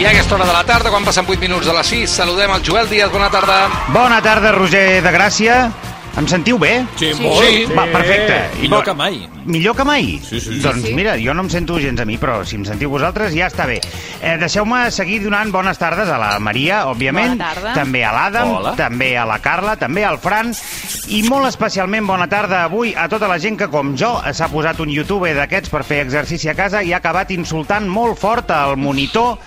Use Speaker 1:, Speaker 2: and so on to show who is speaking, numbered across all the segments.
Speaker 1: I a aquesta hora de la tarda, quan passen 8 minuts de les 6, saludem el Joel Díaz. Bona tarda.
Speaker 2: Bona tarda, Roger de Gràcia. Em sentiu bé?
Speaker 3: Sí, molt. Sí.
Speaker 2: Va, perfecte. I
Speaker 3: Millor
Speaker 2: bo-
Speaker 3: que mai.
Speaker 2: Millor que mai?
Speaker 3: Sí, sí, sí.
Speaker 2: Doncs
Speaker 4: Sí.
Speaker 2: mira, jo no em sento gens a mi, però si em sentiu vosaltres ja està bé. Eh, Deixeu-me seguir donant bones tardes a la Maria, òbviament,
Speaker 4: Bona tarda.
Speaker 2: també a l'Adam,
Speaker 3: Hola.
Speaker 2: també a la Carla, també al Fran, i molt especialment bona tarda avui a tota la gent que, com jo, s'ha posat un youtuber d'aquests per fer exercici a casa i ha acabat insultant molt fort al monitor,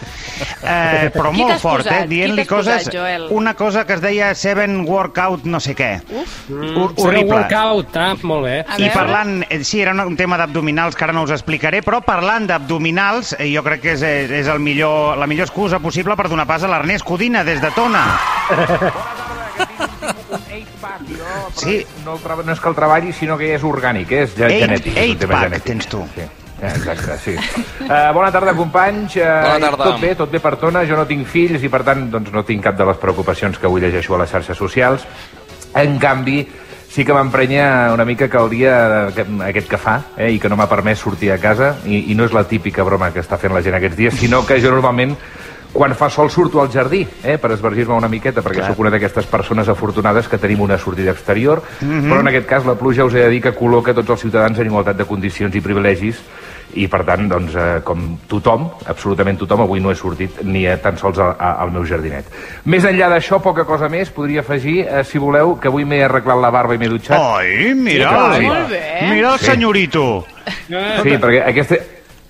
Speaker 2: eh, però
Speaker 4: Qui
Speaker 2: molt
Speaker 4: t'has
Speaker 2: fort,
Speaker 4: posat?
Speaker 2: eh,
Speaker 4: Qui
Speaker 2: dient-li
Speaker 4: t'has
Speaker 2: coses...
Speaker 4: posat, Joel?
Speaker 2: Una cosa que es deia Seven Workout no sé què. Uf. Horrible.
Speaker 5: Workout, ah, molt bé.
Speaker 4: A
Speaker 2: I
Speaker 4: veure.
Speaker 2: parlant, eh, sí, era una- un tema d'abdominals que ara no us explicaré, però parlant d'abdominals, eh, jo crec que és, és, és el millor, la millor excusa possible per donar pas a l'Ernest Codina des de Tona. Sí,
Speaker 6: No, el tra- no és que el treballi, sinó que és orgànic, és ge-
Speaker 2: Eight-
Speaker 6: genètic. és un
Speaker 2: eight
Speaker 6: tema
Speaker 2: pack tens tu.
Speaker 6: Sí. Eh, Exacte, sí. Uh, bona tarda, companys. Uh,
Speaker 1: Bona tarda.
Speaker 6: Tot bé, tot bé per tona. Jo no tinc fills i, per tant, doncs, no tinc cap de les preocupacions que avui llegeixo a les xarxes socials. En canvi, sí que m'emprenya una mica que el dia que- aquest que fa eh, i que no m'ha permès sortir a casa i, i no és la típica broma que està fent la gent aquests dies, sinó que jo normalment quan fa sol surto al jardí eh, per esvergir-me una miqueta, perquè sóc una d'aquestes persones afortunades que tenim una sortida exterior, però en aquest cas la pluja us he de dir que col·loca tots els ciutadans en igualtat de condicions i privilegis i per tant, doncs, eh, com tothom, absolutament tothom, avui no he sortit ni a, tan sols a, a, al meu jardinet. Més enllà d'això, poca cosa més, podria afegir, eh, si voleu, que avui m'he arreglat la barba i m'he dutxat.
Speaker 2: Oh. Ai,
Speaker 6: Sí,
Speaker 2: mira,
Speaker 6: sí.
Speaker 4: Molt bé.
Speaker 2: mira el
Speaker 6: Sí.
Speaker 2: senyorito.
Speaker 6: Sí, perquè aquesta,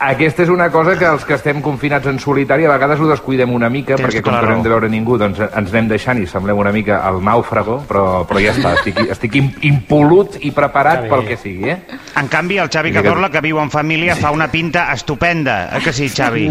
Speaker 6: aquesta és una cosa que els que estem confinats en solitari a vegades ho descuidem una mica,
Speaker 2: Tens
Speaker 6: perquè
Speaker 2: tota
Speaker 6: com
Speaker 2: la
Speaker 6: que no
Speaker 2: raó.
Speaker 6: hem de veure ningú, doncs ens anem deixant i semblem una mica el nàufrago, però, però ja està, estic, estic im- impolut i preparat pel que sigui, eh?
Speaker 2: En canvi, el Xavi Cazorla, que viu en família, fa una pinta estupenda. Eh que sí,
Speaker 5: Mm.
Speaker 2: Xavi?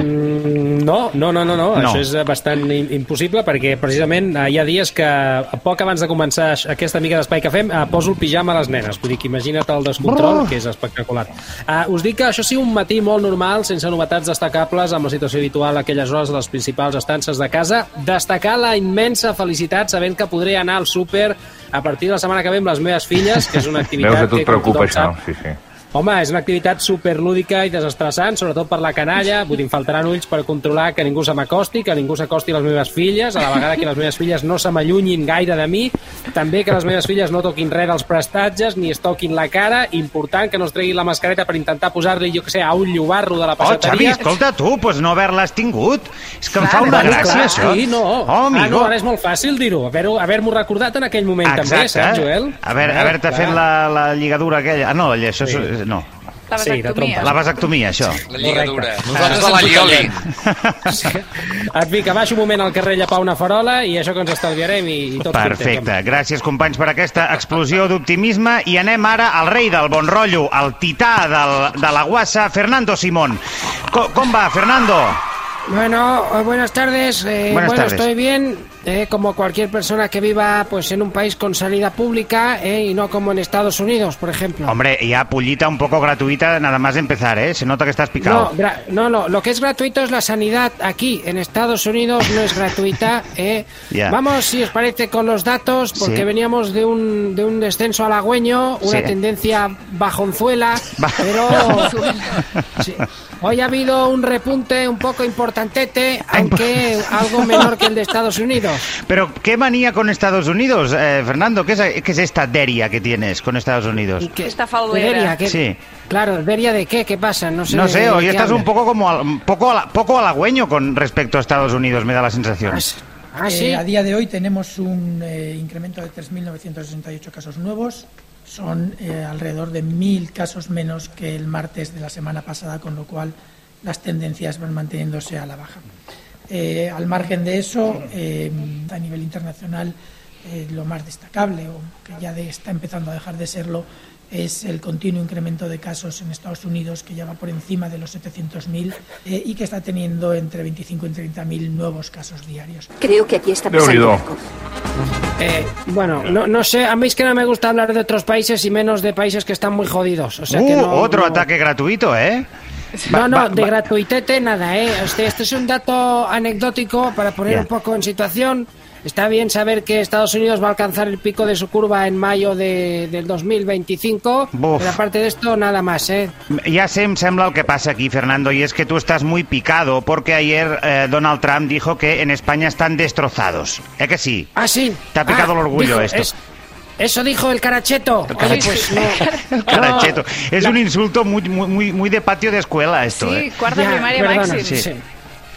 Speaker 5: No, no, no, no, no.
Speaker 2: No.
Speaker 5: això és eh, bastant im- impossible perquè precisament eh, hi ha dies que a poc abans de començar aix- aquesta mica d'espai que fem eh, poso el pijama a les nenes, vull dir que imagina't el descontrol,
Speaker 2: Brr.
Speaker 5: que és espectacular. Uh, us dic que això sí, un matí molt normal, sense novetats destacables, amb la situació habitual a aquelles hores de les principals estances de casa, destacar la immensa felicitat sabent que podré anar al súper a partir de la setmana que ve amb les meves filles, que és una activitat
Speaker 6: Veus, a tu
Speaker 5: que,
Speaker 6: et
Speaker 5: eh, com
Speaker 6: preocupa
Speaker 5: tothom
Speaker 6: això,
Speaker 5: sap,
Speaker 6: sí, sí.
Speaker 5: Home, és una activitat superlúdica i desestressant, sobretot per la canalla. Vull dir, em faltaran ulls per controlar que ningú se m'acosti, que ningú s'acosti a les meves filles, a la vegada que les meves filles no se m'allunyin gaire de mi, també que les meves filles no toquin res dels prestatges ni es toquin la cara, important que no es tregui la mascareta per intentar posar-li, jo que sé, a un llobarro de la
Speaker 2: Oh, Xavi,
Speaker 5: passateria.
Speaker 2: escolta tu, doncs no haver-les tingut. És que em
Speaker 4: Clar,
Speaker 2: fa una
Speaker 4: bueno,
Speaker 2: gràcia,
Speaker 4: clar,
Speaker 2: això.
Speaker 5: Sí, no.
Speaker 2: Oh,
Speaker 5: ah, no,
Speaker 2: amigo.
Speaker 5: ara és molt fàcil dir-ho, haver-ho- haver-m'ho haver recordat en aquell moment també, saps, Joel? Eh,
Speaker 2: A veure,
Speaker 5: Clar,
Speaker 2: haver-te
Speaker 5: clar.
Speaker 2: fet la, la lligadura aquella. Ah, no, això sí. no.
Speaker 4: La
Speaker 5: Sí, de
Speaker 4: vasectomia.
Speaker 5: trompa.
Speaker 2: La vasectomia, això.
Speaker 1: La lligadura.
Speaker 3: Correcte.
Speaker 1: Nosaltres
Speaker 3: Nosaltres
Speaker 1: de la
Speaker 3: ens ho
Speaker 1: Lioli.
Speaker 5: En fi, que baixo un moment al carrer a llepar una farola i això que ens estalviarem i, i tots
Speaker 2: Perfecte. Gràcies, companys, per aquesta explosió d'optimisme. I anem ara al rei del bon rotllo, el tità del, de la guassa, Fernando Simón. Co com va, Fernando?
Speaker 5: Bueno, eh, buenas tardes. eh,
Speaker 2: Buenas
Speaker 5: bueno,
Speaker 2: tardes.
Speaker 5: estoy bien, eh, como cualquier persona que viva pues en un país con salida pública eh, y no como en Estados Unidos, por ejemplo.
Speaker 2: Hombre, ya pullita un poco gratuita, nada más de empezar, ¿eh? Se nota que estás picado.
Speaker 5: No, gra- no, no, lo que es gratuito es la sanidad aquí. En Estados Unidos no es gratuita. ¿eh?
Speaker 2: Ya.
Speaker 5: Vamos, si os parece, con los datos, porque
Speaker 2: Sí.
Speaker 5: veníamos de un, de un descenso halagüeño, una
Speaker 2: Sí.
Speaker 5: tendencia bajonzuela,
Speaker 2: Ba-
Speaker 5: pero Sí. hoy ha habido un repunte un poco importantete, aunque algo menor que el de Estados Unidos.
Speaker 2: Pero, ¿qué manía con Estados Unidos, eh, Fernando? ¿Qué es, qué es esta deria que tienes con Estados Unidos?
Speaker 5: Que-
Speaker 4: Esta faldera.
Speaker 5: Deria, que-
Speaker 2: Sí.
Speaker 5: Claro, Deria de qué, qué pasa, no sé.
Speaker 2: No
Speaker 5: de-
Speaker 2: sé,
Speaker 5: de
Speaker 2: hoy
Speaker 5: qué
Speaker 2: estás un
Speaker 5: hablas.
Speaker 2: poco como al- un poco, ala- poco halagüeño con respecto a Estados Unidos, me da la sensación.
Speaker 5: Ah, sí.
Speaker 7: Eh, a día de hoy tenemos un eh, incremento de 3.968 casos nuevos. Son eh, alrededor de 1.000 casos menos que el martes de la semana pasada, con lo cual las tendencias van manteniéndose a la baja. Eh, al margen de eso, eh, a nivel internacional, eh, lo más destacable, o que ya de- está empezando a dejar de serlo, es el continuo incremento de casos en Estados Unidos, que ya va por encima de los 700.000 eh, y que está teniendo entre 25 y 30.000 nuevos casos diarios.
Speaker 8: Creo que aquí está
Speaker 6: Déu n'hi
Speaker 8: pasando
Speaker 6: do.
Speaker 8: algo.
Speaker 5: Eh, bueno, no, no sé, a mí es que no me gusta hablar de otros países y menos de países que están muy jodidos. O sea que
Speaker 2: Uh,
Speaker 5: no-
Speaker 2: otro
Speaker 5: no-
Speaker 2: ataque gratuito, ¿eh?
Speaker 5: No,
Speaker 2: Va-
Speaker 5: no,
Speaker 2: va-
Speaker 5: de
Speaker 2: va-
Speaker 5: gratuitete nada, ¿eh? Este, este es un dato anecdótico para poner
Speaker 2: Ya.
Speaker 5: un poco en situación.
Speaker 9: Está bien saber que Estados Unidos va a alcanzar el pico de su curva en mayo de, del 2025,
Speaker 2: Buf.
Speaker 9: pero aparte de esto, nada más, ¿eh?
Speaker 2: Ya sé, me sembla el que pasa aquí, Fernando, y es que tú estás muy picado porque ayer eh, Donald Trump dijo que en España están destrozados. ¿Es que sí?
Speaker 9: Ah, sí.
Speaker 2: Te ha picado
Speaker 9: Ah,
Speaker 2: el orgullo
Speaker 9: dijo-
Speaker 2: esto.
Speaker 9: es- eso dijo el caracheto. Oye,
Speaker 2: caracheto.
Speaker 9: pues no.
Speaker 2: Caracheto. Es
Speaker 9: La-
Speaker 2: un insulto muy, muy, muy- muy de patio de escuela esto,
Speaker 10: Sí,
Speaker 2: ¿eh?
Speaker 10: cuarta
Speaker 9: Ya,
Speaker 10: primaria
Speaker 9: perdona,
Speaker 10: máximo.
Speaker 2: Sí.
Speaker 9: sí.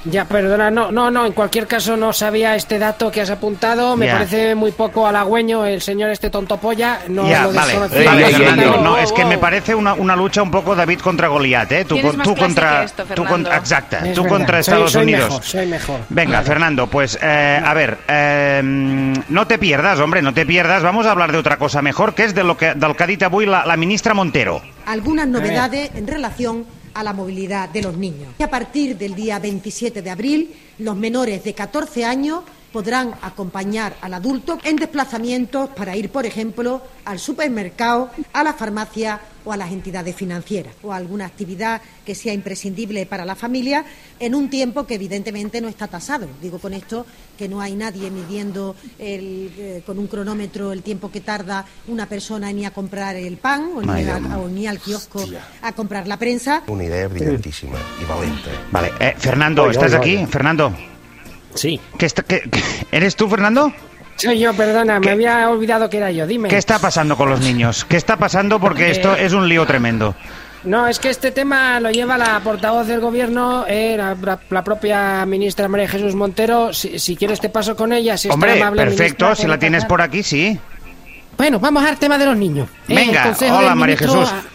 Speaker 9: Ya, perdona, no, no, no, en cualquier caso no sabía este dato que has apuntado, me
Speaker 2: Ya.
Speaker 9: parece muy poco halagüeño el señor este tonto polla, no
Speaker 2: ya,
Speaker 9: lo
Speaker 2: vale,
Speaker 9: desconocía.
Speaker 2: vale,
Speaker 11: Ey, ey,
Speaker 2: Fernando,
Speaker 11: ey, ey.
Speaker 2: no,
Speaker 10: Wow,
Speaker 2: es que
Speaker 10: wow.
Speaker 2: me parece una, una lucha un poco David contra Goliat, ¿eh? Tú,
Speaker 10: Tienes
Speaker 2: con-
Speaker 10: más
Speaker 2: tú
Speaker 10: clase
Speaker 2: contra,
Speaker 10: que esto,
Speaker 2: tú con-
Speaker 10: Fernando.
Speaker 2: exacta,
Speaker 9: Es
Speaker 2: tú
Speaker 9: verdad,
Speaker 2: contra
Speaker 9: soy-
Speaker 2: Estados
Speaker 9: soy
Speaker 2: Unidos.
Speaker 9: mejor, soy mejor.
Speaker 2: Venga, Fernando, pues eh, a ver, eh, no te pierdas, hombre, no te pierdas. Vamos a hablar de otra cosa mejor, que es de lo que del que ha dit avui la, la ministra Montero.
Speaker 4: algunas novedades en relación a la movilidad de los niños. A partir del día 27 de abril, los menores de 14 años podrán acompañar al adulto en desplazamientos para ir, por ejemplo, al supermercado, a la farmacia o a las entidades financieras o a alguna actividad que sea imprescindible para la familia en un tiempo que evidentemente no está tasado. Digo con esto que no hay nadie midiendo el, eh, con un cronómetro el tiempo que tarda una persona en ir a comprar el pan o ni, a- o ni al kiosco a comprar la prensa.
Speaker 6: Una idea brillantísima y valenta.
Speaker 2: Vale, eh, Fernando,
Speaker 12: Voy,
Speaker 2: ¿estás
Speaker 12: voy,
Speaker 2: aquí?
Speaker 12: voy.
Speaker 2: Fernando,
Speaker 9: Sí.
Speaker 2: ¿qué está- qué- qué- ¿eres tú, Fernando?
Speaker 9: Soy yo, perdona,
Speaker 2: ¿Qué?
Speaker 9: me había olvidado que era yo, dime.
Speaker 2: ¿Qué está pasando con los
Speaker 9: Pues
Speaker 2: niños? ¿Qué está pasando? Porque esto es un lío tremendo.
Speaker 9: No, es que este tema lo lleva la portavoz del gobierno, eh, la, la- la propia ministra María Jesús Montero. Si, si quieres te paso con ella, si es tan
Speaker 2: Hombre,
Speaker 9: amable,
Speaker 2: perfecto,
Speaker 9: ministra,
Speaker 2: si la
Speaker 9: puede
Speaker 2: tienes
Speaker 9: pasar.
Speaker 2: por aquí, sí.
Speaker 9: Bueno, vamos al tema de los niños. Eh,
Speaker 2: Venga,
Speaker 9: el Consejo
Speaker 2: hola,
Speaker 9: de
Speaker 2: María
Speaker 9: Ministros-
Speaker 2: Jesús.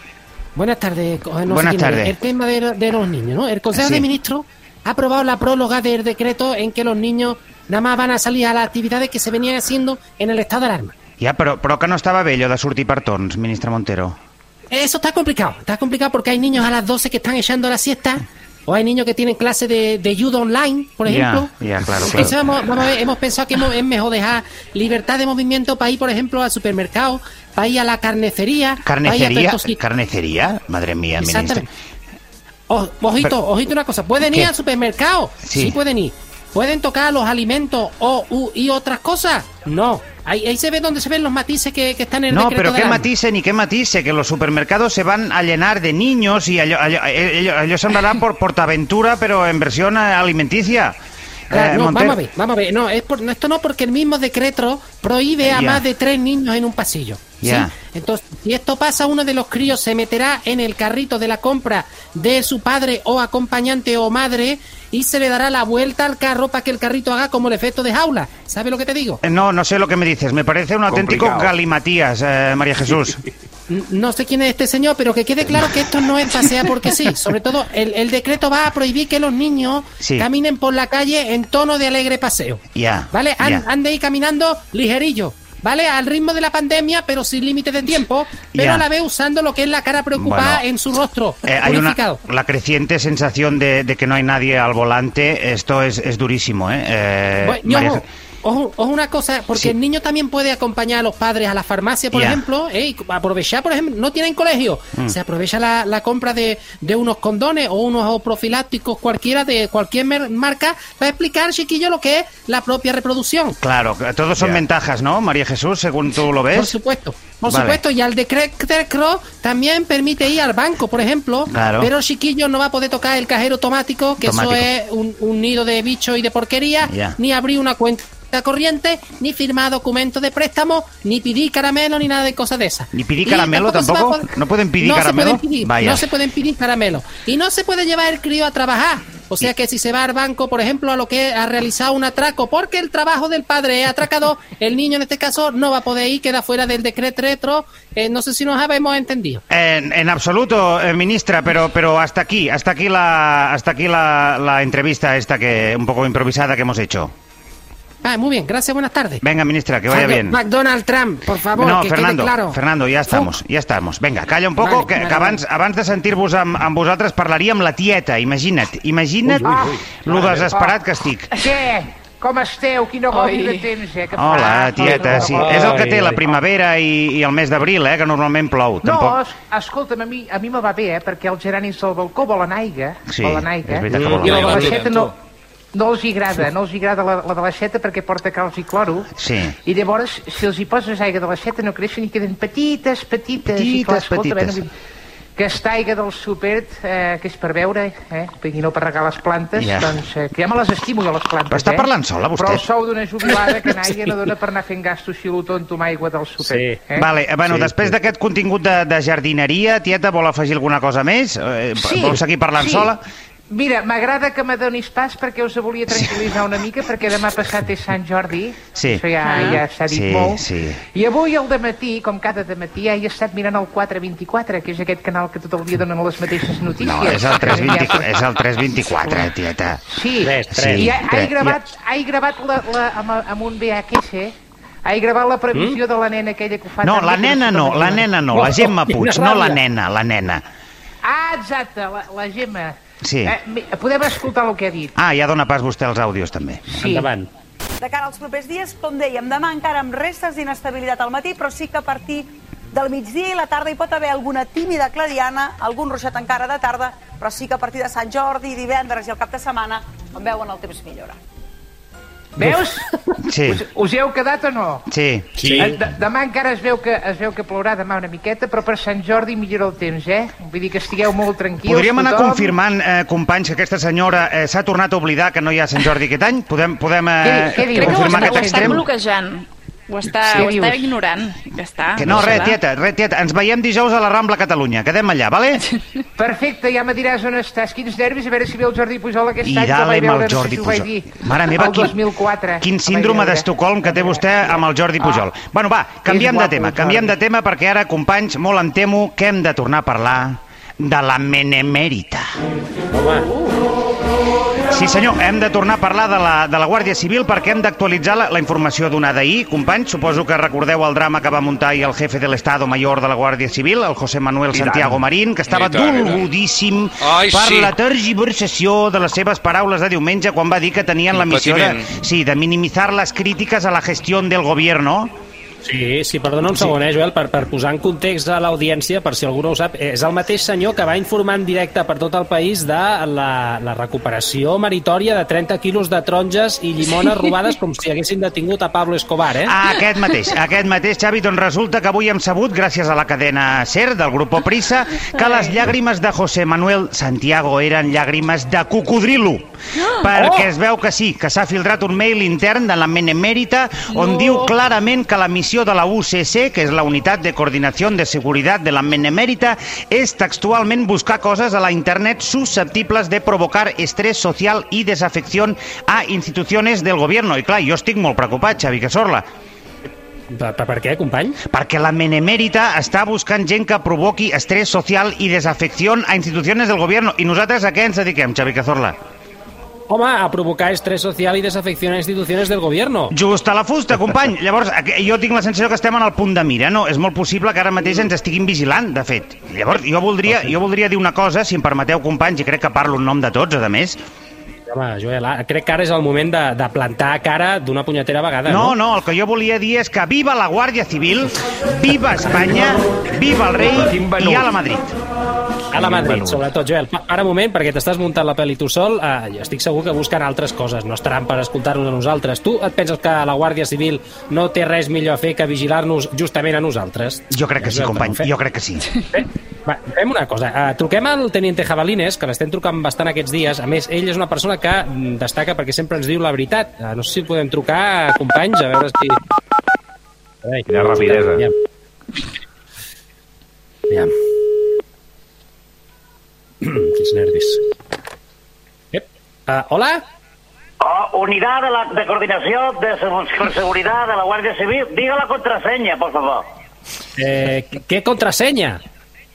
Speaker 9: Buenas tardes. eh, co- no sé
Speaker 2: Buenas
Speaker 9: quién eres.
Speaker 2: tardes.
Speaker 9: El tema de, de los niños, ¿no? El Consejo
Speaker 2: Sí.
Speaker 9: de Ministros ha aprobado la próloga del decreto en que los niños nada más van a salir a las actividades que se venían haciendo en el estado de alarma.
Speaker 2: Ja, però, però que no estava bé allò de sortir per torns, ministre Montero.
Speaker 9: Eso está complicado. Está complicado porque hay niños a las 12 que están echando la siesta. O hay niños que tienen clases de, de judo online, por
Speaker 2: Ya,
Speaker 9: ejemplo.
Speaker 2: ya, claro,
Speaker 9: Entonces,
Speaker 2: claro.
Speaker 9: Vamos, vamos a ver, hemos pensado que hemos- es mejor dejar libertad de movimiento para ir, por ejemplo, al supermercado, para ir a la carnecería. para ir a todos
Speaker 2: Carnicería?
Speaker 9: estos sitios.
Speaker 2: Carnicería? Madre mía, ministre.
Speaker 9: Exactamente. O- ojito,
Speaker 2: Pero-
Speaker 9: ojito una cosa. Pueden ir
Speaker 2: ¿Qué?
Speaker 9: al supermercado.
Speaker 2: Sí.
Speaker 9: Sí. pueden ir. Pueden tocar los alimentos o u- y otras cosas. No. Ahí, ahí se ve donde se ven los matices que, que están en el
Speaker 2: No,
Speaker 9: decreto
Speaker 2: pero
Speaker 9: de
Speaker 2: qué
Speaker 9: alarma.
Speaker 2: matice ni qué matice, que los supermercados se van a llenar de niños y allò, allò, allò, allò semblarà por Portaventura, però en versión eh, alimenticia.
Speaker 9: Claro,
Speaker 2: Eh,
Speaker 9: no,
Speaker 2: Montero.
Speaker 9: vamos a ver, vamos a ver. No, es por- no, esto no porque el mismo decreto prohíbe a
Speaker 2: Ya.
Speaker 9: más de tres niños en un pasillo. ¿sí?
Speaker 2: Ya.
Speaker 9: Entonces, si esto pasa, uno de los críos se meterá en el carrito de la compra de su padre o acompañante o madre y se le dará la vuelta al carro para que el carrito haga como el efecto de jaula. ¿Sabes lo que te digo?
Speaker 2: Eh, No, no sé lo que me dices. Me parece un auténtico
Speaker 11: Complicado.
Speaker 2: galimatías, eh, María Jesús.
Speaker 9: N- No sé quién es este señor, pero que quede claro que esto no es pasea porque sí. Sobre todo, el, el decreto va a prohibir que los niños
Speaker 2: Sí.
Speaker 9: caminen por la calle en tono de alegre paseo.
Speaker 2: Ya,
Speaker 9: ¿Vale?
Speaker 2: ya.
Speaker 9: An- Ande ahí caminando ligerillo. ¿Vale? Al ritmo de la pandemia, pero sin límite de tiempo. Pero
Speaker 2: Ya.
Speaker 9: a la vez usando lo que es la cara preocupada
Speaker 2: Bueno,
Speaker 9: en su rostro.
Speaker 2: Eh, hay una,
Speaker 9: unificado.
Speaker 2: la creciente sensación de, de que no hay nadie al volante. Esto es, es durísimo, ¿eh? Eh,
Speaker 9: Bueno, y
Speaker 2: María
Speaker 9: ojo,
Speaker 2: Je-
Speaker 9: Pues, ojo, ojo una cosa, porque
Speaker 2: Sí.
Speaker 9: el niño también puede acompañar a los padres a la farmacia, por
Speaker 2: Ya. Mm.
Speaker 9: ejemplo, eh, y aprovechar, por ejemplo, no tienen colegio, se aprovecha la, la compra de, de unos condones o unos profilácticos cualquiera de cualquier mer- marca para explicar, chiquillo, lo que es la propia reproducción.
Speaker 2: Claro, todos son
Speaker 11: Ya.
Speaker 2: ventajas, ¿no, María Jesús, según tú lo
Speaker 9: Por
Speaker 2: ves?
Speaker 9: supuesto, por
Speaker 2: Vale.
Speaker 9: supuesto, y al decreto también permite ir al banco, por ejemplo,
Speaker 2: Claro.
Speaker 9: pero el chiquillo no va a poder tocar el cajero automático, que
Speaker 2: Automático.
Speaker 9: eso es un, un nido de bicho y de porquería,
Speaker 2: Ya.
Speaker 9: ni abrir una cuenta corriente, ni firmar documentos de préstamo, ni pedir caramelo, ni nada de cosas de esas.
Speaker 2: ¿Ni pedir
Speaker 9: Y
Speaker 2: caramelo
Speaker 9: se va a
Speaker 2: tampoco?
Speaker 9: poder-
Speaker 2: ¿No pueden pedir
Speaker 9: no
Speaker 2: caramelo?
Speaker 9: Se pueden pedir,
Speaker 2: Vaya.
Speaker 9: No se pueden pedir caramelo. Y no se puede llevar el crío a trabajar. O sea que si se va al banco, por ejemplo, a lo que ha realizado un atraco, porque el trabajo del padre es atracado, el niño en este caso no va a poder ir, queda fuera del decreto retro. Eh, no sé si nos habemos entendido.
Speaker 2: En, en absoluto, eh, ministra, pero, pero hasta aquí, hasta aquí la, hasta aquí la, la entrevista esta que un poco improvisada que hemos hecho.
Speaker 9: Ah, muy bien, gracias, buenas tardes.
Speaker 2: Venga, ministra, que vaya
Speaker 9: Mac-
Speaker 2: bien.
Speaker 9: McDonald Trump, por favor,
Speaker 2: No,
Speaker 9: que
Speaker 2: Fernando,
Speaker 9: quede claro.
Speaker 2: Fernando, ja estamos, ja estamos. Vinga, calla un poco,
Speaker 9: Vale,
Speaker 2: que,
Speaker 9: vale,
Speaker 2: que abans, abans de sentir-vos amb, amb vosaltres parlaria amb la tieta, imagina't. Imagina't lo desesperat que estic.
Speaker 13: Què? Com esteu? Quina gòbia
Speaker 10: Oi.
Speaker 13: tens, eh? Que
Speaker 2: Hola,
Speaker 13: fa?
Speaker 2: tieta, sí. És el que té la
Speaker 9: ai.
Speaker 2: primavera i, i el mes d'abril, eh, que normalment plou.
Speaker 13: No,
Speaker 2: Tampoc...
Speaker 13: es, escolta'm, a mi, a mi me va bé, eh? Perquè els geranis del balcó volen aigua.
Speaker 2: Sí,
Speaker 13: volen
Speaker 2: és
Speaker 13: aigua.
Speaker 2: veritat que volen
Speaker 13: I la
Speaker 2: aigua.
Speaker 13: baixeta no... no els hi agrada, no els hi agrada la, la de l'aixeta perquè porta calç i cloro.
Speaker 2: Sí.
Speaker 13: I llavors, si els hi poses aigua de l'aixeta, no creixen i queden petites, petites.
Speaker 2: Petites,
Speaker 13: I clar, escolta,
Speaker 2: petites.
Speaker 13: bé, no vull- que esta aigua del supert, eh, que és per beure, eh, i no per regar les plantes,
Speaker 2: Ja.
Speaker 13: doncs, eh, que ja me les estimo jo, les plantes,
Speaker 2: Però està
Speaker 13: eh?
Speaker 2: parlant sola, vostè?
Speaker 13: Però el sou d'una jubilada que naia no dona per anar fent gastos si lo tonto amb aigua del supert.
Speaker 5: Sí.
Speaker 13: Eh?
Speaker 2: Vale, eh, bueno, després d'aquest contingut de, de jardineria, tieta, vol afegir alguna cosa més? Eh, vol seguir parlant
Speaker 13: sí.
Speaker 2: sola?
Speaker 13: Mira, m'agrada que me donis pas perquè us volia tranquil·litzar una mica, perquè demà passat és Sant Jordi.
Speaker 2: Sí.
Speaker 13: Això ja,
Speaker 2: Ah.
Speaker 13: ja s'ha dit
Speaker 2: Sí,
Speaker 13: molt.
Speaker 2: sí.
Speaker 13: I avui al matí, com cada matí, he estat mirant el 424, que és aquest canal que tot el dia donen les mateixes notícies.
Speaker 2: No, és el 324,
Speaker 13: Ja-
Speaker 2: és el 324 eh, tieta.
Speaker 13: Sí,
Speaker 5: Tres, tres.
Speaker 13: i ha,
Speaker 2: Tres,
Speaker 13: he gravat, he gravat la, la, amb, amb un VHS, he gravat la previsió de la nena aquella que ho fa...
Speaker 2: Mm? No,
Speaker 13: tan
Speaker 2: la
Speaker 13: bé que
Speaker 2: nena
Speaker 13: sé
Speaker 2: no,
Speaker 13: com es
Speaker 2: la
Speaker 13: diu.
Speaker 2: nena no, la Gemma
Speaker 5: Quina
Speaker 2: Puig, no la
Speaker 5: ràbia.
Speaker 2: nena, la nena.
Speaker 13: Ah, exacte, la, la Gemma.
Speaker 2: Sí.
Speaker 13: Eh, mi- podem escoltar el que ha dit.
Speaker 2: Ah, ja dona pas vostè els àudios, també.
Speaker 13: Sí.
Speaker 5: Endavant.
Speaker 3: De cara als propers dies, com dèiem, demà encara amb restes d'inestabilitat al matí, però sí que a partir del migdia i la tarda hi pot haver alguna tímida clariana, algun ruixat encara de tarda, però sí que a partir de Sant Jordi, divendres i el cap de setmana, com veuen, el temps millora.
Speaker 13: Veus?
Speaker 2: Sí,
Speaker 13: Us, us hi heu quedat o no?
Speaker 2: sí.
Speaker 5: Sí.
Speaker 13: Eh, de- Demà encara es veu, que, es veu que plourà demà una miqueta, però per Sant Jordi millora el temps, eh? Vull dir que estigueu molt tranquils.
Speaker 2: Podríem anar
Speaker 13: tothom.
Speaker 2: confirmant, eh, companys, que aquesta senyora eh, s'ha tornat a oblidar que no hi ha Sant Jordi aquest any? Podem, podem eh,
Speaker 13: Què- què diu?
Speaker 14: Crec que ho,
Speaker 13: Confirmar
Speaker 14: està,
Speaker 2: confirmar
Speaker 14: ho
Speaker 2: aquest
Speaker 14: està
Speaker 2: extrem?
Speaker 14: bloquejant. Ho està,
Speaker 13: Sí.
Speaker 14: ho
Speaker 13: Què
Speaker 14: està
Speaker 13: dius?
Speaker 14: ignorant. Ja està.
Speaker 2: Que no,
Speaker 14: deixa-la.
Speaker 2: res, tieta, res, tieta. Ens veiem dijous a la Rambla Catalunya. Quedem allà, vale?
Speaker 13: Perfecte, ja me diràs on estàs. Quins nervis, a veure si ve el Jordi Pujol aquest
Speaker 2: I
Speaker 13: any. que el
Speaker 2: dale
Speaker 13: vaig
Speaker 2: amb el
Speaker 13: veure, no sé
Speaker 2: Jordi
Speaker 13: si ho vaig
Speaker 2: Pujol.
Speaker 13: dir.
Speaker 2: Mare meva,
Speaker 13: el 2004.
Speaker 2: quin
Speaker 13: el vaig
Speaker 2: síndrome
Speaker 13: veure. Ah.
Speaker 2: d'Estocolm que té vostè amb el Jordi Pujol. Bueno, va, canviem de
Speaker 13: guapo,
Speaker 2: tema,
Speaker 13: el
Speaker 2: canviem de
Speaker 13: Jordi.
Speaker 2: tema perquè ara, companys, molt em temo que hem de tornar a parlar de la menemèrita.
Speaker 5: Home,
Speaker 2: Sí, senyor, hem de tornar a parlar de la, de la Guàrdia Civil perquè hem d'actualitzar la, la informació donada ahir. Companys, suposo que recordeu el drama que va muntar ahir el jefe de l'Estado Mayor de la Guàrdia Civil, el José Manuel
Speaker 6: tant.
Speaker 2: Santiago Marín, que estava
Speaker 1: I tant, i tant.
Speaker 2: dolgudíssim
Speaker 1: Ai,
Speaker 2: per
Speaker 1: sí.
Speaker 2: la tergiversació de les seves paraules de diumenge quan va dir que tenien la
Speaker 1: Un
Speaker 2: missió de,
Speaker 1: patiment.
Speaker 2: sí, de minimitzar les crítiques a la gestió del gobierno.
Speaker 5: sí, sí, perdona un segon, eh, Joel, per, per posar en context a l'audiència, per si algú no ho sap, és el mateix senyor que va informar en directe per tot el país de la, la recuperació meritòria de 30 quilos de taronges i llimones robades com si haguessin detingut a Pablo Escobar, eh?
Speaker 2: Ah, aquest mateix, aquest mateix, Xavi, doncs resulta que avui hem sabut, gràcies a la cadena SER del grup Prisa, que les llàgrimes de José Manuel Santiago eren llàgrimes de cocodrilo. Perquè es veu que sí, que s'ha filtrat un mail intern de la Menemèrita on diu clarament que la missió de la UCC, que és la Unitat de Coordinació de Seguretat de la Menemèrita, és textualment buscar coses a la internet susceptibles de provocar estrès social i desafecció a institucions del govern. I clar, jo estic molt preocupat, Xavi Casorla,
Speaker 5: Per, per, per què, company?
Speaker 2: perquè la menemèrita està buscant gent que provoqui estrès social i desafecció a institucions del govern. I nosaltres a què ens dediquem, Xavi Cazorla?
Speaker 5: Home, a provocar estrès social i desafección a instituciones del gobierno.
Speaker 2: Just a la fusta, company. Llavors, aqu- jo tinc la sensació que estem en el punt de mira, no? És molt possible que ara mateix ens estiguin vigilant, de fet. Llavors, jo voldria, jo voldria dir una cosa, si em permeteu, companys, i crec que parlo en nom de tots, a més.
Speaker 5: Home, Joel, ara- crec que ara és el moment de, de plantar cara d'una punyetera vegada,
Speaker 2: No,
Speaker 5: no?
Speaker 2: no, el que jo volia dir és que viva la Guàrdia Civil, viva Espanya, viva el rei
Speaker 6: Quin venut.
Speaker 2: i a la Madrid.
Speaker 5: A la Madrid,
Speaker 6: Bueno.
Speaker 5: sobretot, Joel. Pa- Ara un moment, perquè t'estàs muntant la pel·li tu sol, eh, jo estic segur que busquen altres coses, no estaran per escoltar-nos a nosaltres. Tu et penses que la Guàrdia Civil no té res millor a fer que vigilar-nos justament a nosaltres?
Speaker 2: Jo crec que sí,
Speaker 5: Joel,
Speaker 2: company,
Speaker 5: però ho
Speaker 2: jo crec que sí.
Speaker 5: Bé, Va, fem una cosa, uh, truquem al Teniente Jabalines, que l'estem trucant bastant aquests dies. A més, ell és una persona que mm, destaca perquè sempre ens diu la veritat. Eh, no sé si el podem trucar, companys, a veure si... Ai,
Speaker 6: Quina rapidesa.
Speaker 5: Aviam. Aviam. Quins nervis. Ep. Uh, hola?
Speaker 15: Oh, unidad de la de coordinación de se- con seguridad de la Guardia Civil, diga la contraseña, por favor.
Speaker 5: Eh, ¿Qué contraseña?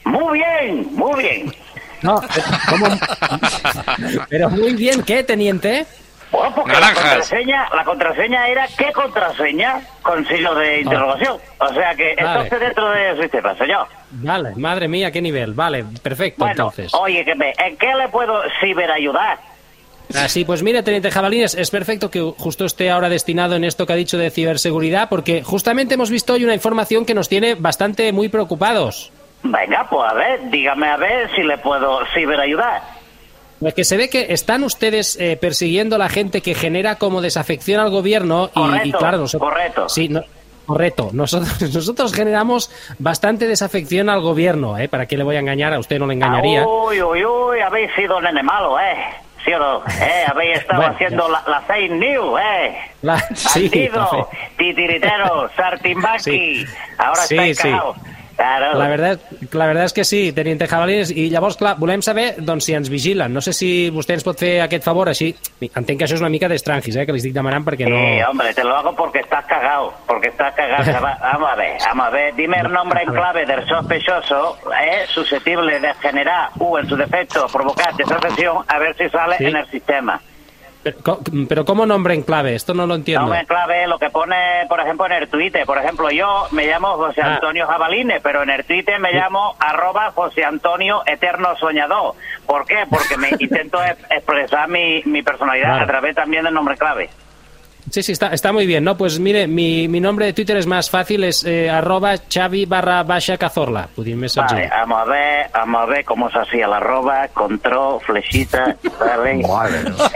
Speaker 15: Muy bien, muy bien.
Speaker 5: No, eh, ¿cómo? Pero muy bien, ¿qué, Teniente?
Speaker 15: Bueno, porque
Speaker 1: Naranjas.
Speaker 15: la contraseña, la contraseña era ¿qué contraseña? Con signo de interrogación. O sea que
Speaker 5: Ah. Vale.
Speaker 15: esto está dentro del sistema, señor.
Speaker 5: Vale, madre mía, qué nivel. Vale, perfecto,
Speaker 15: Bueno,
Speaker 5: entonces.
Speaker 15: oye, que me- ¿en qué le puedo ciberayudar?
Speaker 5: Ah, sí, pues mire, Teniente Jabalines, es perfecto que justo esté ahora destinado en esto que ha dicho de ciberseguridad, porque justamente hemos visto hoy una información que nos tiene bastante muy preocupados.
Speaker 15: Venga, pues a ver, dígame a ver si le puedo ciberayudar.
Speaker 5: Porque se ve que están ustedes eh, persiguiendo a la gente que genera como desafección al gobierno y, y
Speaker 15: Correcto,
Speaker 5: claro, nosotros...
Speaker 15: correcto.
Speaker 5: Sí, no- correcto. Nosotros, nosotros generamos bastante desafección al gobierno, ¿eh? ¿Para qué le voy a engañar? A usted no le engañaría.
Speaker 15: Uy, uy, uy, habéis sido nene malo, ¿eh? ¿Sí o no? ¿Eh? Habéis estado
Speaker 5: Bueno,
Speaker 15: haciendo la, la fake news, ¿eh?
Speaker 5: La- sí, la fe-
Speaker 15: Bandido, titiritero, sartimbaqui.
Speaker 5: Sí.
Speaker 15: Ah, Ahora
Speaker 5: Sí,
Speaker 15: estáis
Speaker 5: sí.
Speaker 15: cagaos. Claro.
Speaker 5: La verdad, la verdad és que sí, teniente Jabalines, i llavors, clar, volem saber doncs, si ens vigilen. No sé si vostè ens pot fer aquest favor, així... Entenc que això és una mica d'estrangis, eh, que li estic demanant perquè no...
Speaker 15: Eh, hombre, te lo hago porque estás cagado, porque estás cagado. chaval. Vamos a ver, vamos a ver. Dime el nombre en clave del sospechoso, es susceptible de generar o en su defecto provocar desafección, a ver si sale
Speaker 5: Sí.
Speaker 15: en el sistema.
Speaker 5: Pero, co- pero ¿cómo nombre en clave? Esto no lo entiendo.
Speaker 15: Nombre en clave es lo que pone, por ejemplo, en el Twitter. Por ejemplo, yo me llamo José
Speaker 5: Ah.
Speaker 15: Antonio Jabalines, pero en el Twitter me llamo arroba José Antonio Eterno Soñador. ¿Por qué? Porque me intento ex- expresar mi, mi personalidad
Speaker 5: Claro.
Speaker 15: a través también del nombre clave.
Speaker 5: Sí, sí, está, está muy bien, ¿no? Pues mire, mi, mi nombre de Twitter es más fácil, es eh, arroba xavi barra baixa cazorla. Podríem més
Speaker 15: Vale,
Speaker 5: senzill.
Speaker 15: vamos a ver, vamos a ver cómo se hacía la arroba, control, flechita, ¿vale?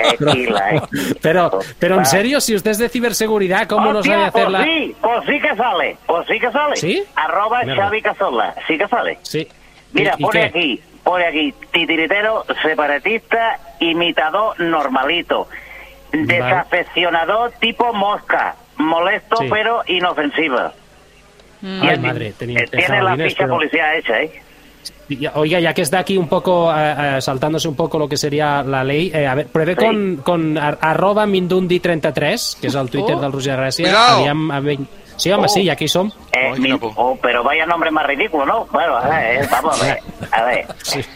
Speaker 15: Esquila, eh.
Speaker 5: Pero, pero en
Speaker 15: Va.
Speaker 5: serio, si usted es de ciberseguridad, ¿cómo no
Speaker 15: Hostia,
Speaker 5: sabe
Speaker 15: pues
Speaker 5: hacerla?
Speaker 15: sí, pues sí que sale, pues sí que sale.
Speaker 5: ¿Sí?
Speaker 15: Arroba
Speaker 5: Mierda.
Speaker 15: Xavi Cazorla, sí que sale.
Speaker 5: Sí.
Speaker 15: Mira,
Speaker 5: ¿Y- y
Speaker 15: pone
Speaker 5: qué?
Speaker 15: aquí, pone aquí, titiritero, separatista, imitador normalito, desafeccionador tipo mosca, molesto
Speaker 5: Sí.
Speaker 15: pero inofensivo.
Speaker 5: Ay, madre, tenía
Speaker 15: Eh, Tiene la
Speaker 5: Jabalines,
Speaker 15: ficha
Speaker 5: pero-
Speaker 15: policía hecha, ¿eh?
Speaker 5: Ya- Oiga, ya que está aquí un poco eh, eh, saltándose un poco lo que sería la ley, eh, a ver, pruebe
Speaker 15: Sí.
Speaker 5: con, con ar- arroba mindundi33, que és el Twitter
Speaker 15: Oh.
Speaker 5: del Roger Gràcia.
Speaker 15: Cuidao.
Speaker 5: Aviam, a veure- Sí, home,
Speaker 15: Oh.
Speaker 5: sí, aquí som.
Speaker 15: Eh, mi- oh, pero vaya nombre más ridículo, ¿no? Bueno, a
Speaker 5: Ah.
Speaker 15: ver, eh, vamos a ver. A ver.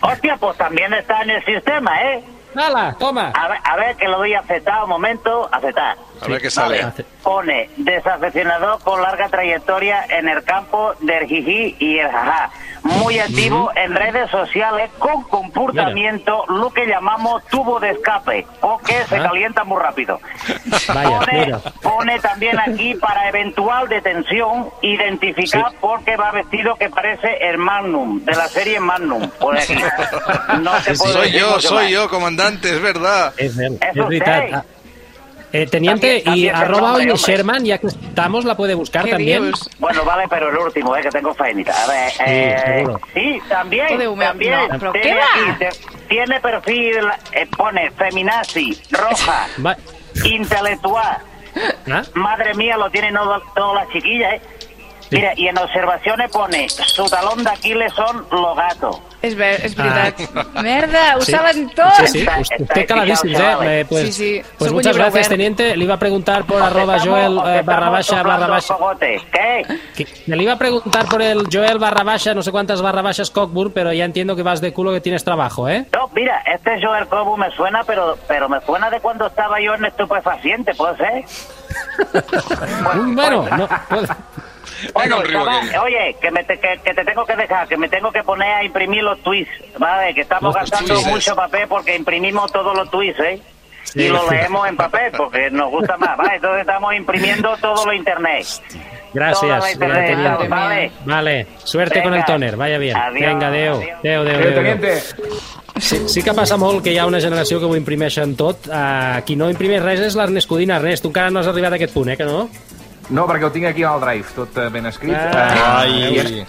Speaker 15: Hostia, pues también está en el sistema, ¿eh?
Speaker 5: ¡Hala, toma!
Speaker 15: A ver, a ver que lo doy aceptado, un momento, aceptar.
Speaker 1: A ver qué sale.
Speaker 15: Pone desafeccionado con larga trayectoria en el campo del jijí y el jajá. Muy activo en redes sociales con comportamiento, lo que llamamos tubo de escape, o que se
Speaker 5: Ajá.
Speaker 15: calienta muy rápido.
Speaker 5: Vaya,
Speaker 15: Ah, pone,
Speaker 5: mira.
Speaker 15: pone también aquí para eventual detención, identificar porque va vestido que parece el Magnum, de la serie Magnum. Pone aquí. No
Speaker 1: Ah,
Speaker 15: te puedo
Speaker 1: soy
Speaker 15: decir
Speaker 1: yo,
Speaker 15: mucho
Speaker 1: soy
Speaker 15: más.
Speaker 1: yo, comandante, es verdad.
Speaker 5: Es, ver-
Speaker 15: Eso
Speaker 5: es veritat.
Speaker 15: sí.
Speaker 5: Ah, eh, teniente,
Speaker 15: También-
Speaker 5: y
Speaker 15: también es
Speaker 5: arroba
Speaker 15: nombre,
Speaker 5: Oye
Speaker 15: hombre.
Speaker 5: Sherman, ya que estamos, la puede buscar también.
Speaker 15: Bueno, vale, pero el último, eh, que tengo faenita. A ver, eh,
Speaker 5: seguro.
Speaker 15: sí, también,
Speaker 14: Joder, Humea,
Speaker 15: también.
Speaker 14: no, pero
Speaker 15: tiene,
Speaker 14: ¿qué va?
Speaker 15: aquí, te- tiene perfil, eh, pone feminazi, roja,
Speaker 5: Va-
Speaker 15: intelectual.
Speaker 5: ¿Ah?
Speaker 15: Madre mía, lo tienen todas las chiquillas, eh. Mira, y en observaciones pone, su talón de Aquiles son los gatos.
Speaker 14: És, ver, és veritat.
Speaker 5: Ah.
Speaker 14: Merda, ho
Speaker 5: Sí.
Speaker 14: saben tot.
Speaker 5: Sí, sí,
Speaker 15: Está-
Speaker 5: usted,
Speaker 15: está
Speaker 5: usted caladísimo,
Speaker 15: pillado,
Speaker 5: ¿eh?
Speaker 15: chavales.
Speaker 5: Eh, Pues,
Speaker 14: Sí, sí,
Speaker 5: pues
Speaker 14: soy un
Speaker 5: muchas
Speaker 14: libro
Speaker 5: gracias,
Speaker 14: verde.
Speaker 5: teniente. Le iba a preguntar por
Speaker 15: Os
Speaker 5: arroba
Speaker 15: estamos-
Speaker 5: Joel
Speaker 15: os
Speaker 5: eh, barra
Speaker 15: estamos
Speaker 5: baja barra
Speaker 15: soplando
Speaker 5: baja.
Speaker 15: fogotes. ¿Qué?
Speaker 5: Que- que le iba a preguntar por el Joel barra baja, no sé cuántas barra bajas Cockburn, pero ya entiendo que vas de culo que tienes trabajo, ¿eh?
Speaker 15: No, mira, este Joel Cobu me suena, pero pero me suena de cuando estaba yo en estupefaciente, ¿puede ser?
Speaker 5: Bueno, no, puede-
Speaker 1: Venga, un
Speaker 15: Oye,
Speaker 1: río
Speaker 15: chaval,
Speaker 1: aquí.
Speaker 15: oye, que, me te, que, que te tengo que dejar, que me tengo que poner a imprimir los tweets, ¿vale? Que estamos
Speaker 5: Los
Speaker 15: gastando
Speaker 1: tweets.
Speaker 15: mucho papel porque imprimimos todos los tweets, ¿eh? Y los leemos en papel porque nos gusta más, ¿vale? Entonces estamos imprimiendo todo lo internet. Toda la
Speaker 5: gracias,
Speaker 15: internet,
Speaker 5: eh, teniente.
Speaker 15: ¿vale?
Speaker 5: Vale, suerte con el
Speaker 15: Venga.
Speaker 5: toner, vaya bien.
Speaker 15: Adiós,
Speaker 5: Venga, adeu.
Speaker 15: adiós.
Speaker 5: Adeu, adeu,
Speaker 6: Adéu,
Speaker 5: adeu, adeu.
Speaker 6: teniente.
Speaker 5: Sí, sí que passa molt que hi ha una generació que ho imprimeixen tot. Uh, qui no imprimeix res és l'Ernest Codina. Ernest, tu encara no has arribat a aquest punt, eh, que no?
Speaker 6: No, perquè ho tinc aquí al drive, tot eh, ben escrit.
Speaker 5: Ah.
Speaker 6: Eh, i-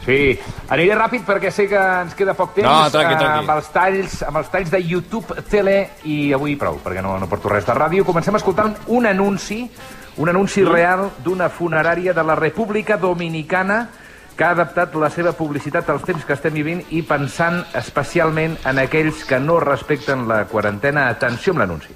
Speaker 6: Sí, aniré ràpid perquè sé que ens queda poc temps
Speaker 16: No, tranqui,
Speaker 6: eh,
Speaker 16: tranqui.
Speaker 6: Amb, els talls, amb els talls de YouTube, tele i avui prou, perquè no, no porto res de ràdio. Comencem escoltant un anunci, un anunci
Speaker 16: Mm.
Speaker 6: real d'una funerària de la República Dominicana que ha adaptat la seva publicitat als temps que estem vivint i pensant especialment en aquells que no respecten la quarantena. Atenció amb l'anunci.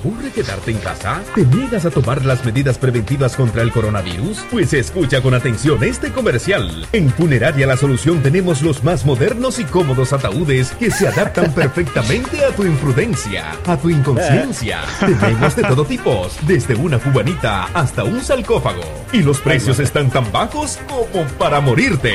Speaker 17: ¿Ocurre quedarte en casa? ¿Te niegas a tomar las medidas preventivas contra el coronavirus? Pues escucha con atención este comercial. En Funeraria La Solución tenemos los más modernos y cómodos ataúdes que se adaptan perfectamente a tu imprudencia, a tu inconsciencia. Tenemos de todo tipo, desde una cubanita hasta un sarcófago. Y los precios están tan bajos como para morirte.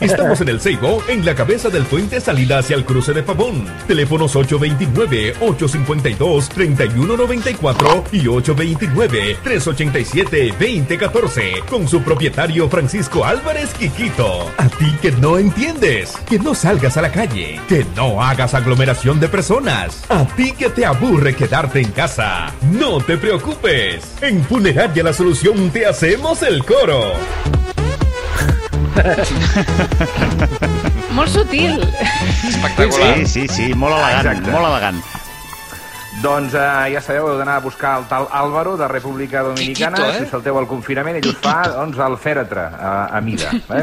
Speaker 17: Estamos en el Ceibo, en la cabeza del puente salida hacia el cruce de Pavón. Teléfonos 829-852-3194 y 829-387-2014. Con su propietario Francisco Álvarez Quiquito. A ti que no entiendes, que no salgas a la calle, que no hagas aglomeración de personas. A ti que te aburre quedarte en casa. No te preocupes. En Funeraria La Solución te hacemos el coro.
Speaker 14: Molt sutil.
Speaker 1: Espectacular.
Speaker 2: Sí, sí, sí, molt elegant,
Speaker 6: Exacte.
Speaker 2: molt elegant.
Speaker 6: Doncs eh, ja sabeu, heu d'anar a buscar el tal Álvaro, de República Dominicana,
Speaker 1: Quiquito, eh?
Speaker 6: si us salteu el confinament, ell us fa doncs, el fèretre a, a mida. Eh?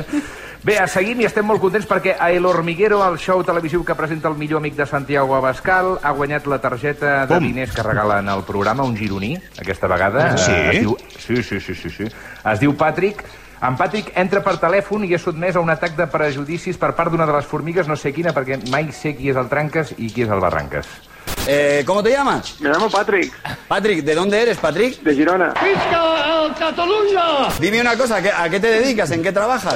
Speaker 6: Bé, a seguim i estem molt contents perquè a El Hormiguero, el show televisiu que presenta el millor amic de Santiago Abascal, ha guanyat la targeta de
Speaker 2: Com?
Speaker 6: diners que regalen al programa, un gironí, aquesta vegada.
Speaker 2: Sí?
Speaker 6: Eh, Es diu... sí, sí, sí, sí, sí. Es diu Patrick. En Patrick entra per telèfon i és sotmès a un atac de prejudicis per part d'una de les formigues, no sé quina, perquè mai sé qui és el Tranques i qui és el Barranques.
Speaker 16: Eh, ¿Cómo te llamas? Me llamo Patrick. Patrick, ¿de dónde eres, Patrick? De Girona. Dime una cosa, ¿a qué, a qué te dedicas? ¿En qué trabajas?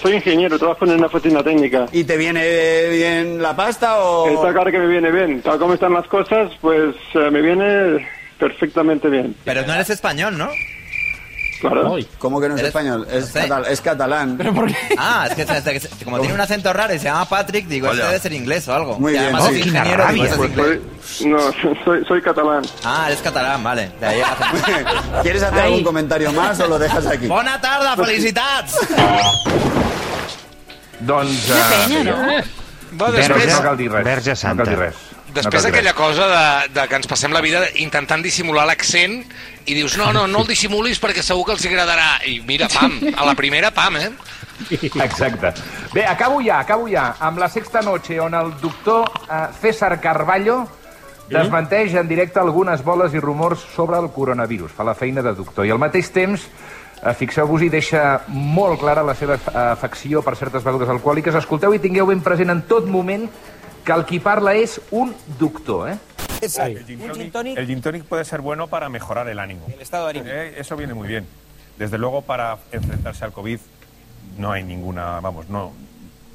Speaker 16: soy ingeniero, trabajo en una oficina técnica. ¿Y te viene bien la pasta o...?
Speaker 18: Esta cara que me viene bien. Tal como están las cosas, pues eh, me viene perfectamente bien.
Speaker 16: Pero no eres español, ¿no?
Speaker 18: Claro. Ay.
Speaker 16: ¿Cómo que no es
Speaker 18: Eres-
Speaker 16: español? Es, catal- es catalán. ¿Pero por qué?
Speaker 19: Ah, es que, es que- es que como tiene un acento raro y se llama Patrick, digo, este
Speaker 16: Hola.
Speaker 19: debe ser inglés o algo.
Speaker 16: Muy
Speaker 19: y
Speaker 16: bien,
Speaker 15: Ah,
Speaker 19: además
Speaker 2: Oh,
Speaker 16: sí.
Speaker 19: es
Speaker 16: Qué
Speaker 19: ingeniero,
Speaker 16: rabia.
Speaker 19: pues es
Speaker 16: Pues
Speaker 19: inglés.
Speaker 18: No, soy, soy catalán.
Speaker 19: Ah, eres catalán, vale. De ahí hace-
Speaker 16: ¿Quieres hacer algún comentario más o lo dejas aquí?
Speaker 19: Bona tarda, felicitats!
Speaker 6: Doncs...
Speaker 19: Quina
Speaker 6: eh,
Speaker 19: penya, no?
Speaker 6: bé.
Speaker 1: Va, després-
Speaker 6: No cal dir res.
Speaker 2: Verge Santa.
Speaker 6: No cal dir res.
Speaker 1: Després
Speaker 6: no cal dir
Speaker 1: d'aquella cosa de, de que ens passem la vida intentant dissimular l'accent i dius, no, no, no el dissimulis perquè segur que els agradarà. I mira, pam, a la primera, pam, eh?
Speaker 6: Exacte. Bé, acabo ja, acabo ja, amb la sexta noche on el doctor eh, César Carballo desmenteix en directe algunes boles i rumors sobre el coronavirus. Fa la feina de doctor. I al mateix temps, eh, fixeu-vos hi, deixa molt clara la seva eh, afecció per certes begudes alcohòliques. Escolteu i tingueu ben present en tot moment que el qui parla és un doctor, eh?
Speaker 20: El gin, tonic, el gin tonic puede ser bueno para mejorar el ánimo. El estado anímico. eso viene muy bien. Desde luego, para enfrentarse al COVID no hay ninguna, vamos, no.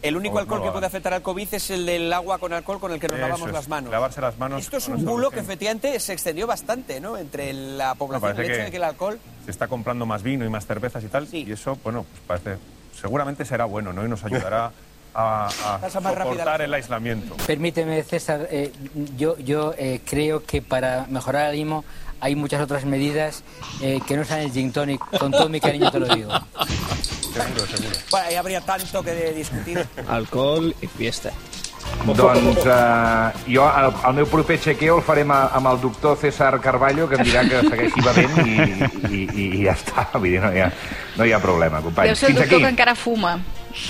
Speaker 21: El único
Speaker 20: No,
Speaker 21: alcohol
Speaker 20: no lo
Speaker 21: que
Speaker 20: hagan.
Speaker 21: puede afectar al COVID es el del agua con alcohol con el que nos
Speaker 20: Eso
Speaker 21: lavamos
Speaker 20: es,
Speaker 21: las manos.
Speaker 20: Lavarse las manos.
Speaker 21: Esto es
Speaker 20: con
Speaker 21: un
Speaker 20: esa
Speaker 21: bulo que
Speaker 20: solución.
Speaker 21: efectivamente se extendió bastante, ¿no? Entre la
Speaker 20: Me
Speaker 21: población,
Speaker 20: parece
Speaker 21: el hecho
Speaker 20: que-
Speaker 21: de que el alcohol...
Speaker 20: Se está comprando más vino y más cervezas y tal, y eso, bueno, pues parece, seguramente será bueno, ¿no? Y nos ayudará a, a
Speaker 21: Pasa más rápida la
Speaker 20: soportar el aislamiento.
Speaker 10: Permíteme, César, eh, yo, yo eh, creo que para mejorar el ánimo hay muchas otras medidas eh, que no sean el gin tonic. Con todo mi cariño te lo digo.
Speaker 20: Seguro, seguro.
Speaker 21: Bueno, ahí habría tanto que de- discutir.
Speaker 22: Alcohol y fiesta.
Speaker 6: Doncs eh, jo el, el meu proper chequeo el farem a, amb el doctor César Carballo, que em dirà que segueixi bevent i, i, i, i ja està. Vull dir, no hi ha, no hi ha problema,
Speaker 14: Deu
Speaker 6: companys.
Speaker 14: ser el doctor que encara fuma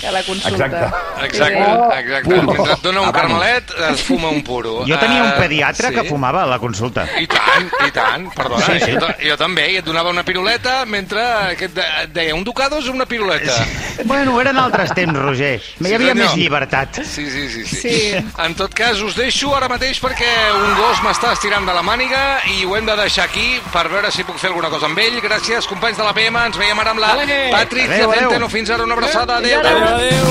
Speaker 14: a la consulta.
Speaker 6: Exacte.
Speaker 1: Exacte,
Speaker 14: Oh.
Speaker 1: exacte.
Speaker 2: Oh.
Speaker 1: Mentre et dona un
Speaker 2: Abans.
Speaker 1: carmelet, es fuma un puro.
Speaker 2: Jo tenia un
Speaker 1: Eh,
Speaker 2: pediatre
Speaker 1: sí.
Speaker 2: que fumava a la consulta.
Speaker 1: I tant, i tant, perdona,
Speaker 2: Sí,
Speaker 1: sí,
Speaker 2: sí.
Speaker 1: sí. Jo, ta- jo també, i et donava una piruleta mentre aquest de- et deia un ducado és una piruleta.
Speaker 2: Bueno, eren altres temps, Roger. Hi havia
Speaker 1: senyor.
Speaker 2: més llibertat.
Speaker 1: Sí, sí, sí, sí.
Speaker 2: Sí.
Speaker 1: En tot cas, us deixo ara mateix perquè un gos m'està estirant de la màniga i ho hem de deixar aquí per veure si puc fer alguna cosa amb ell. Gràcies, companys de la PM, ens veiem ara amb la
Speaker 23: Ole.
Speaker 1: Patricia
Speaker 23: Adéu, adéu.
Speaker 1: Centeno. Fins ara, una abraçada. Adéu.
Speaker 23: Adéu, adéu.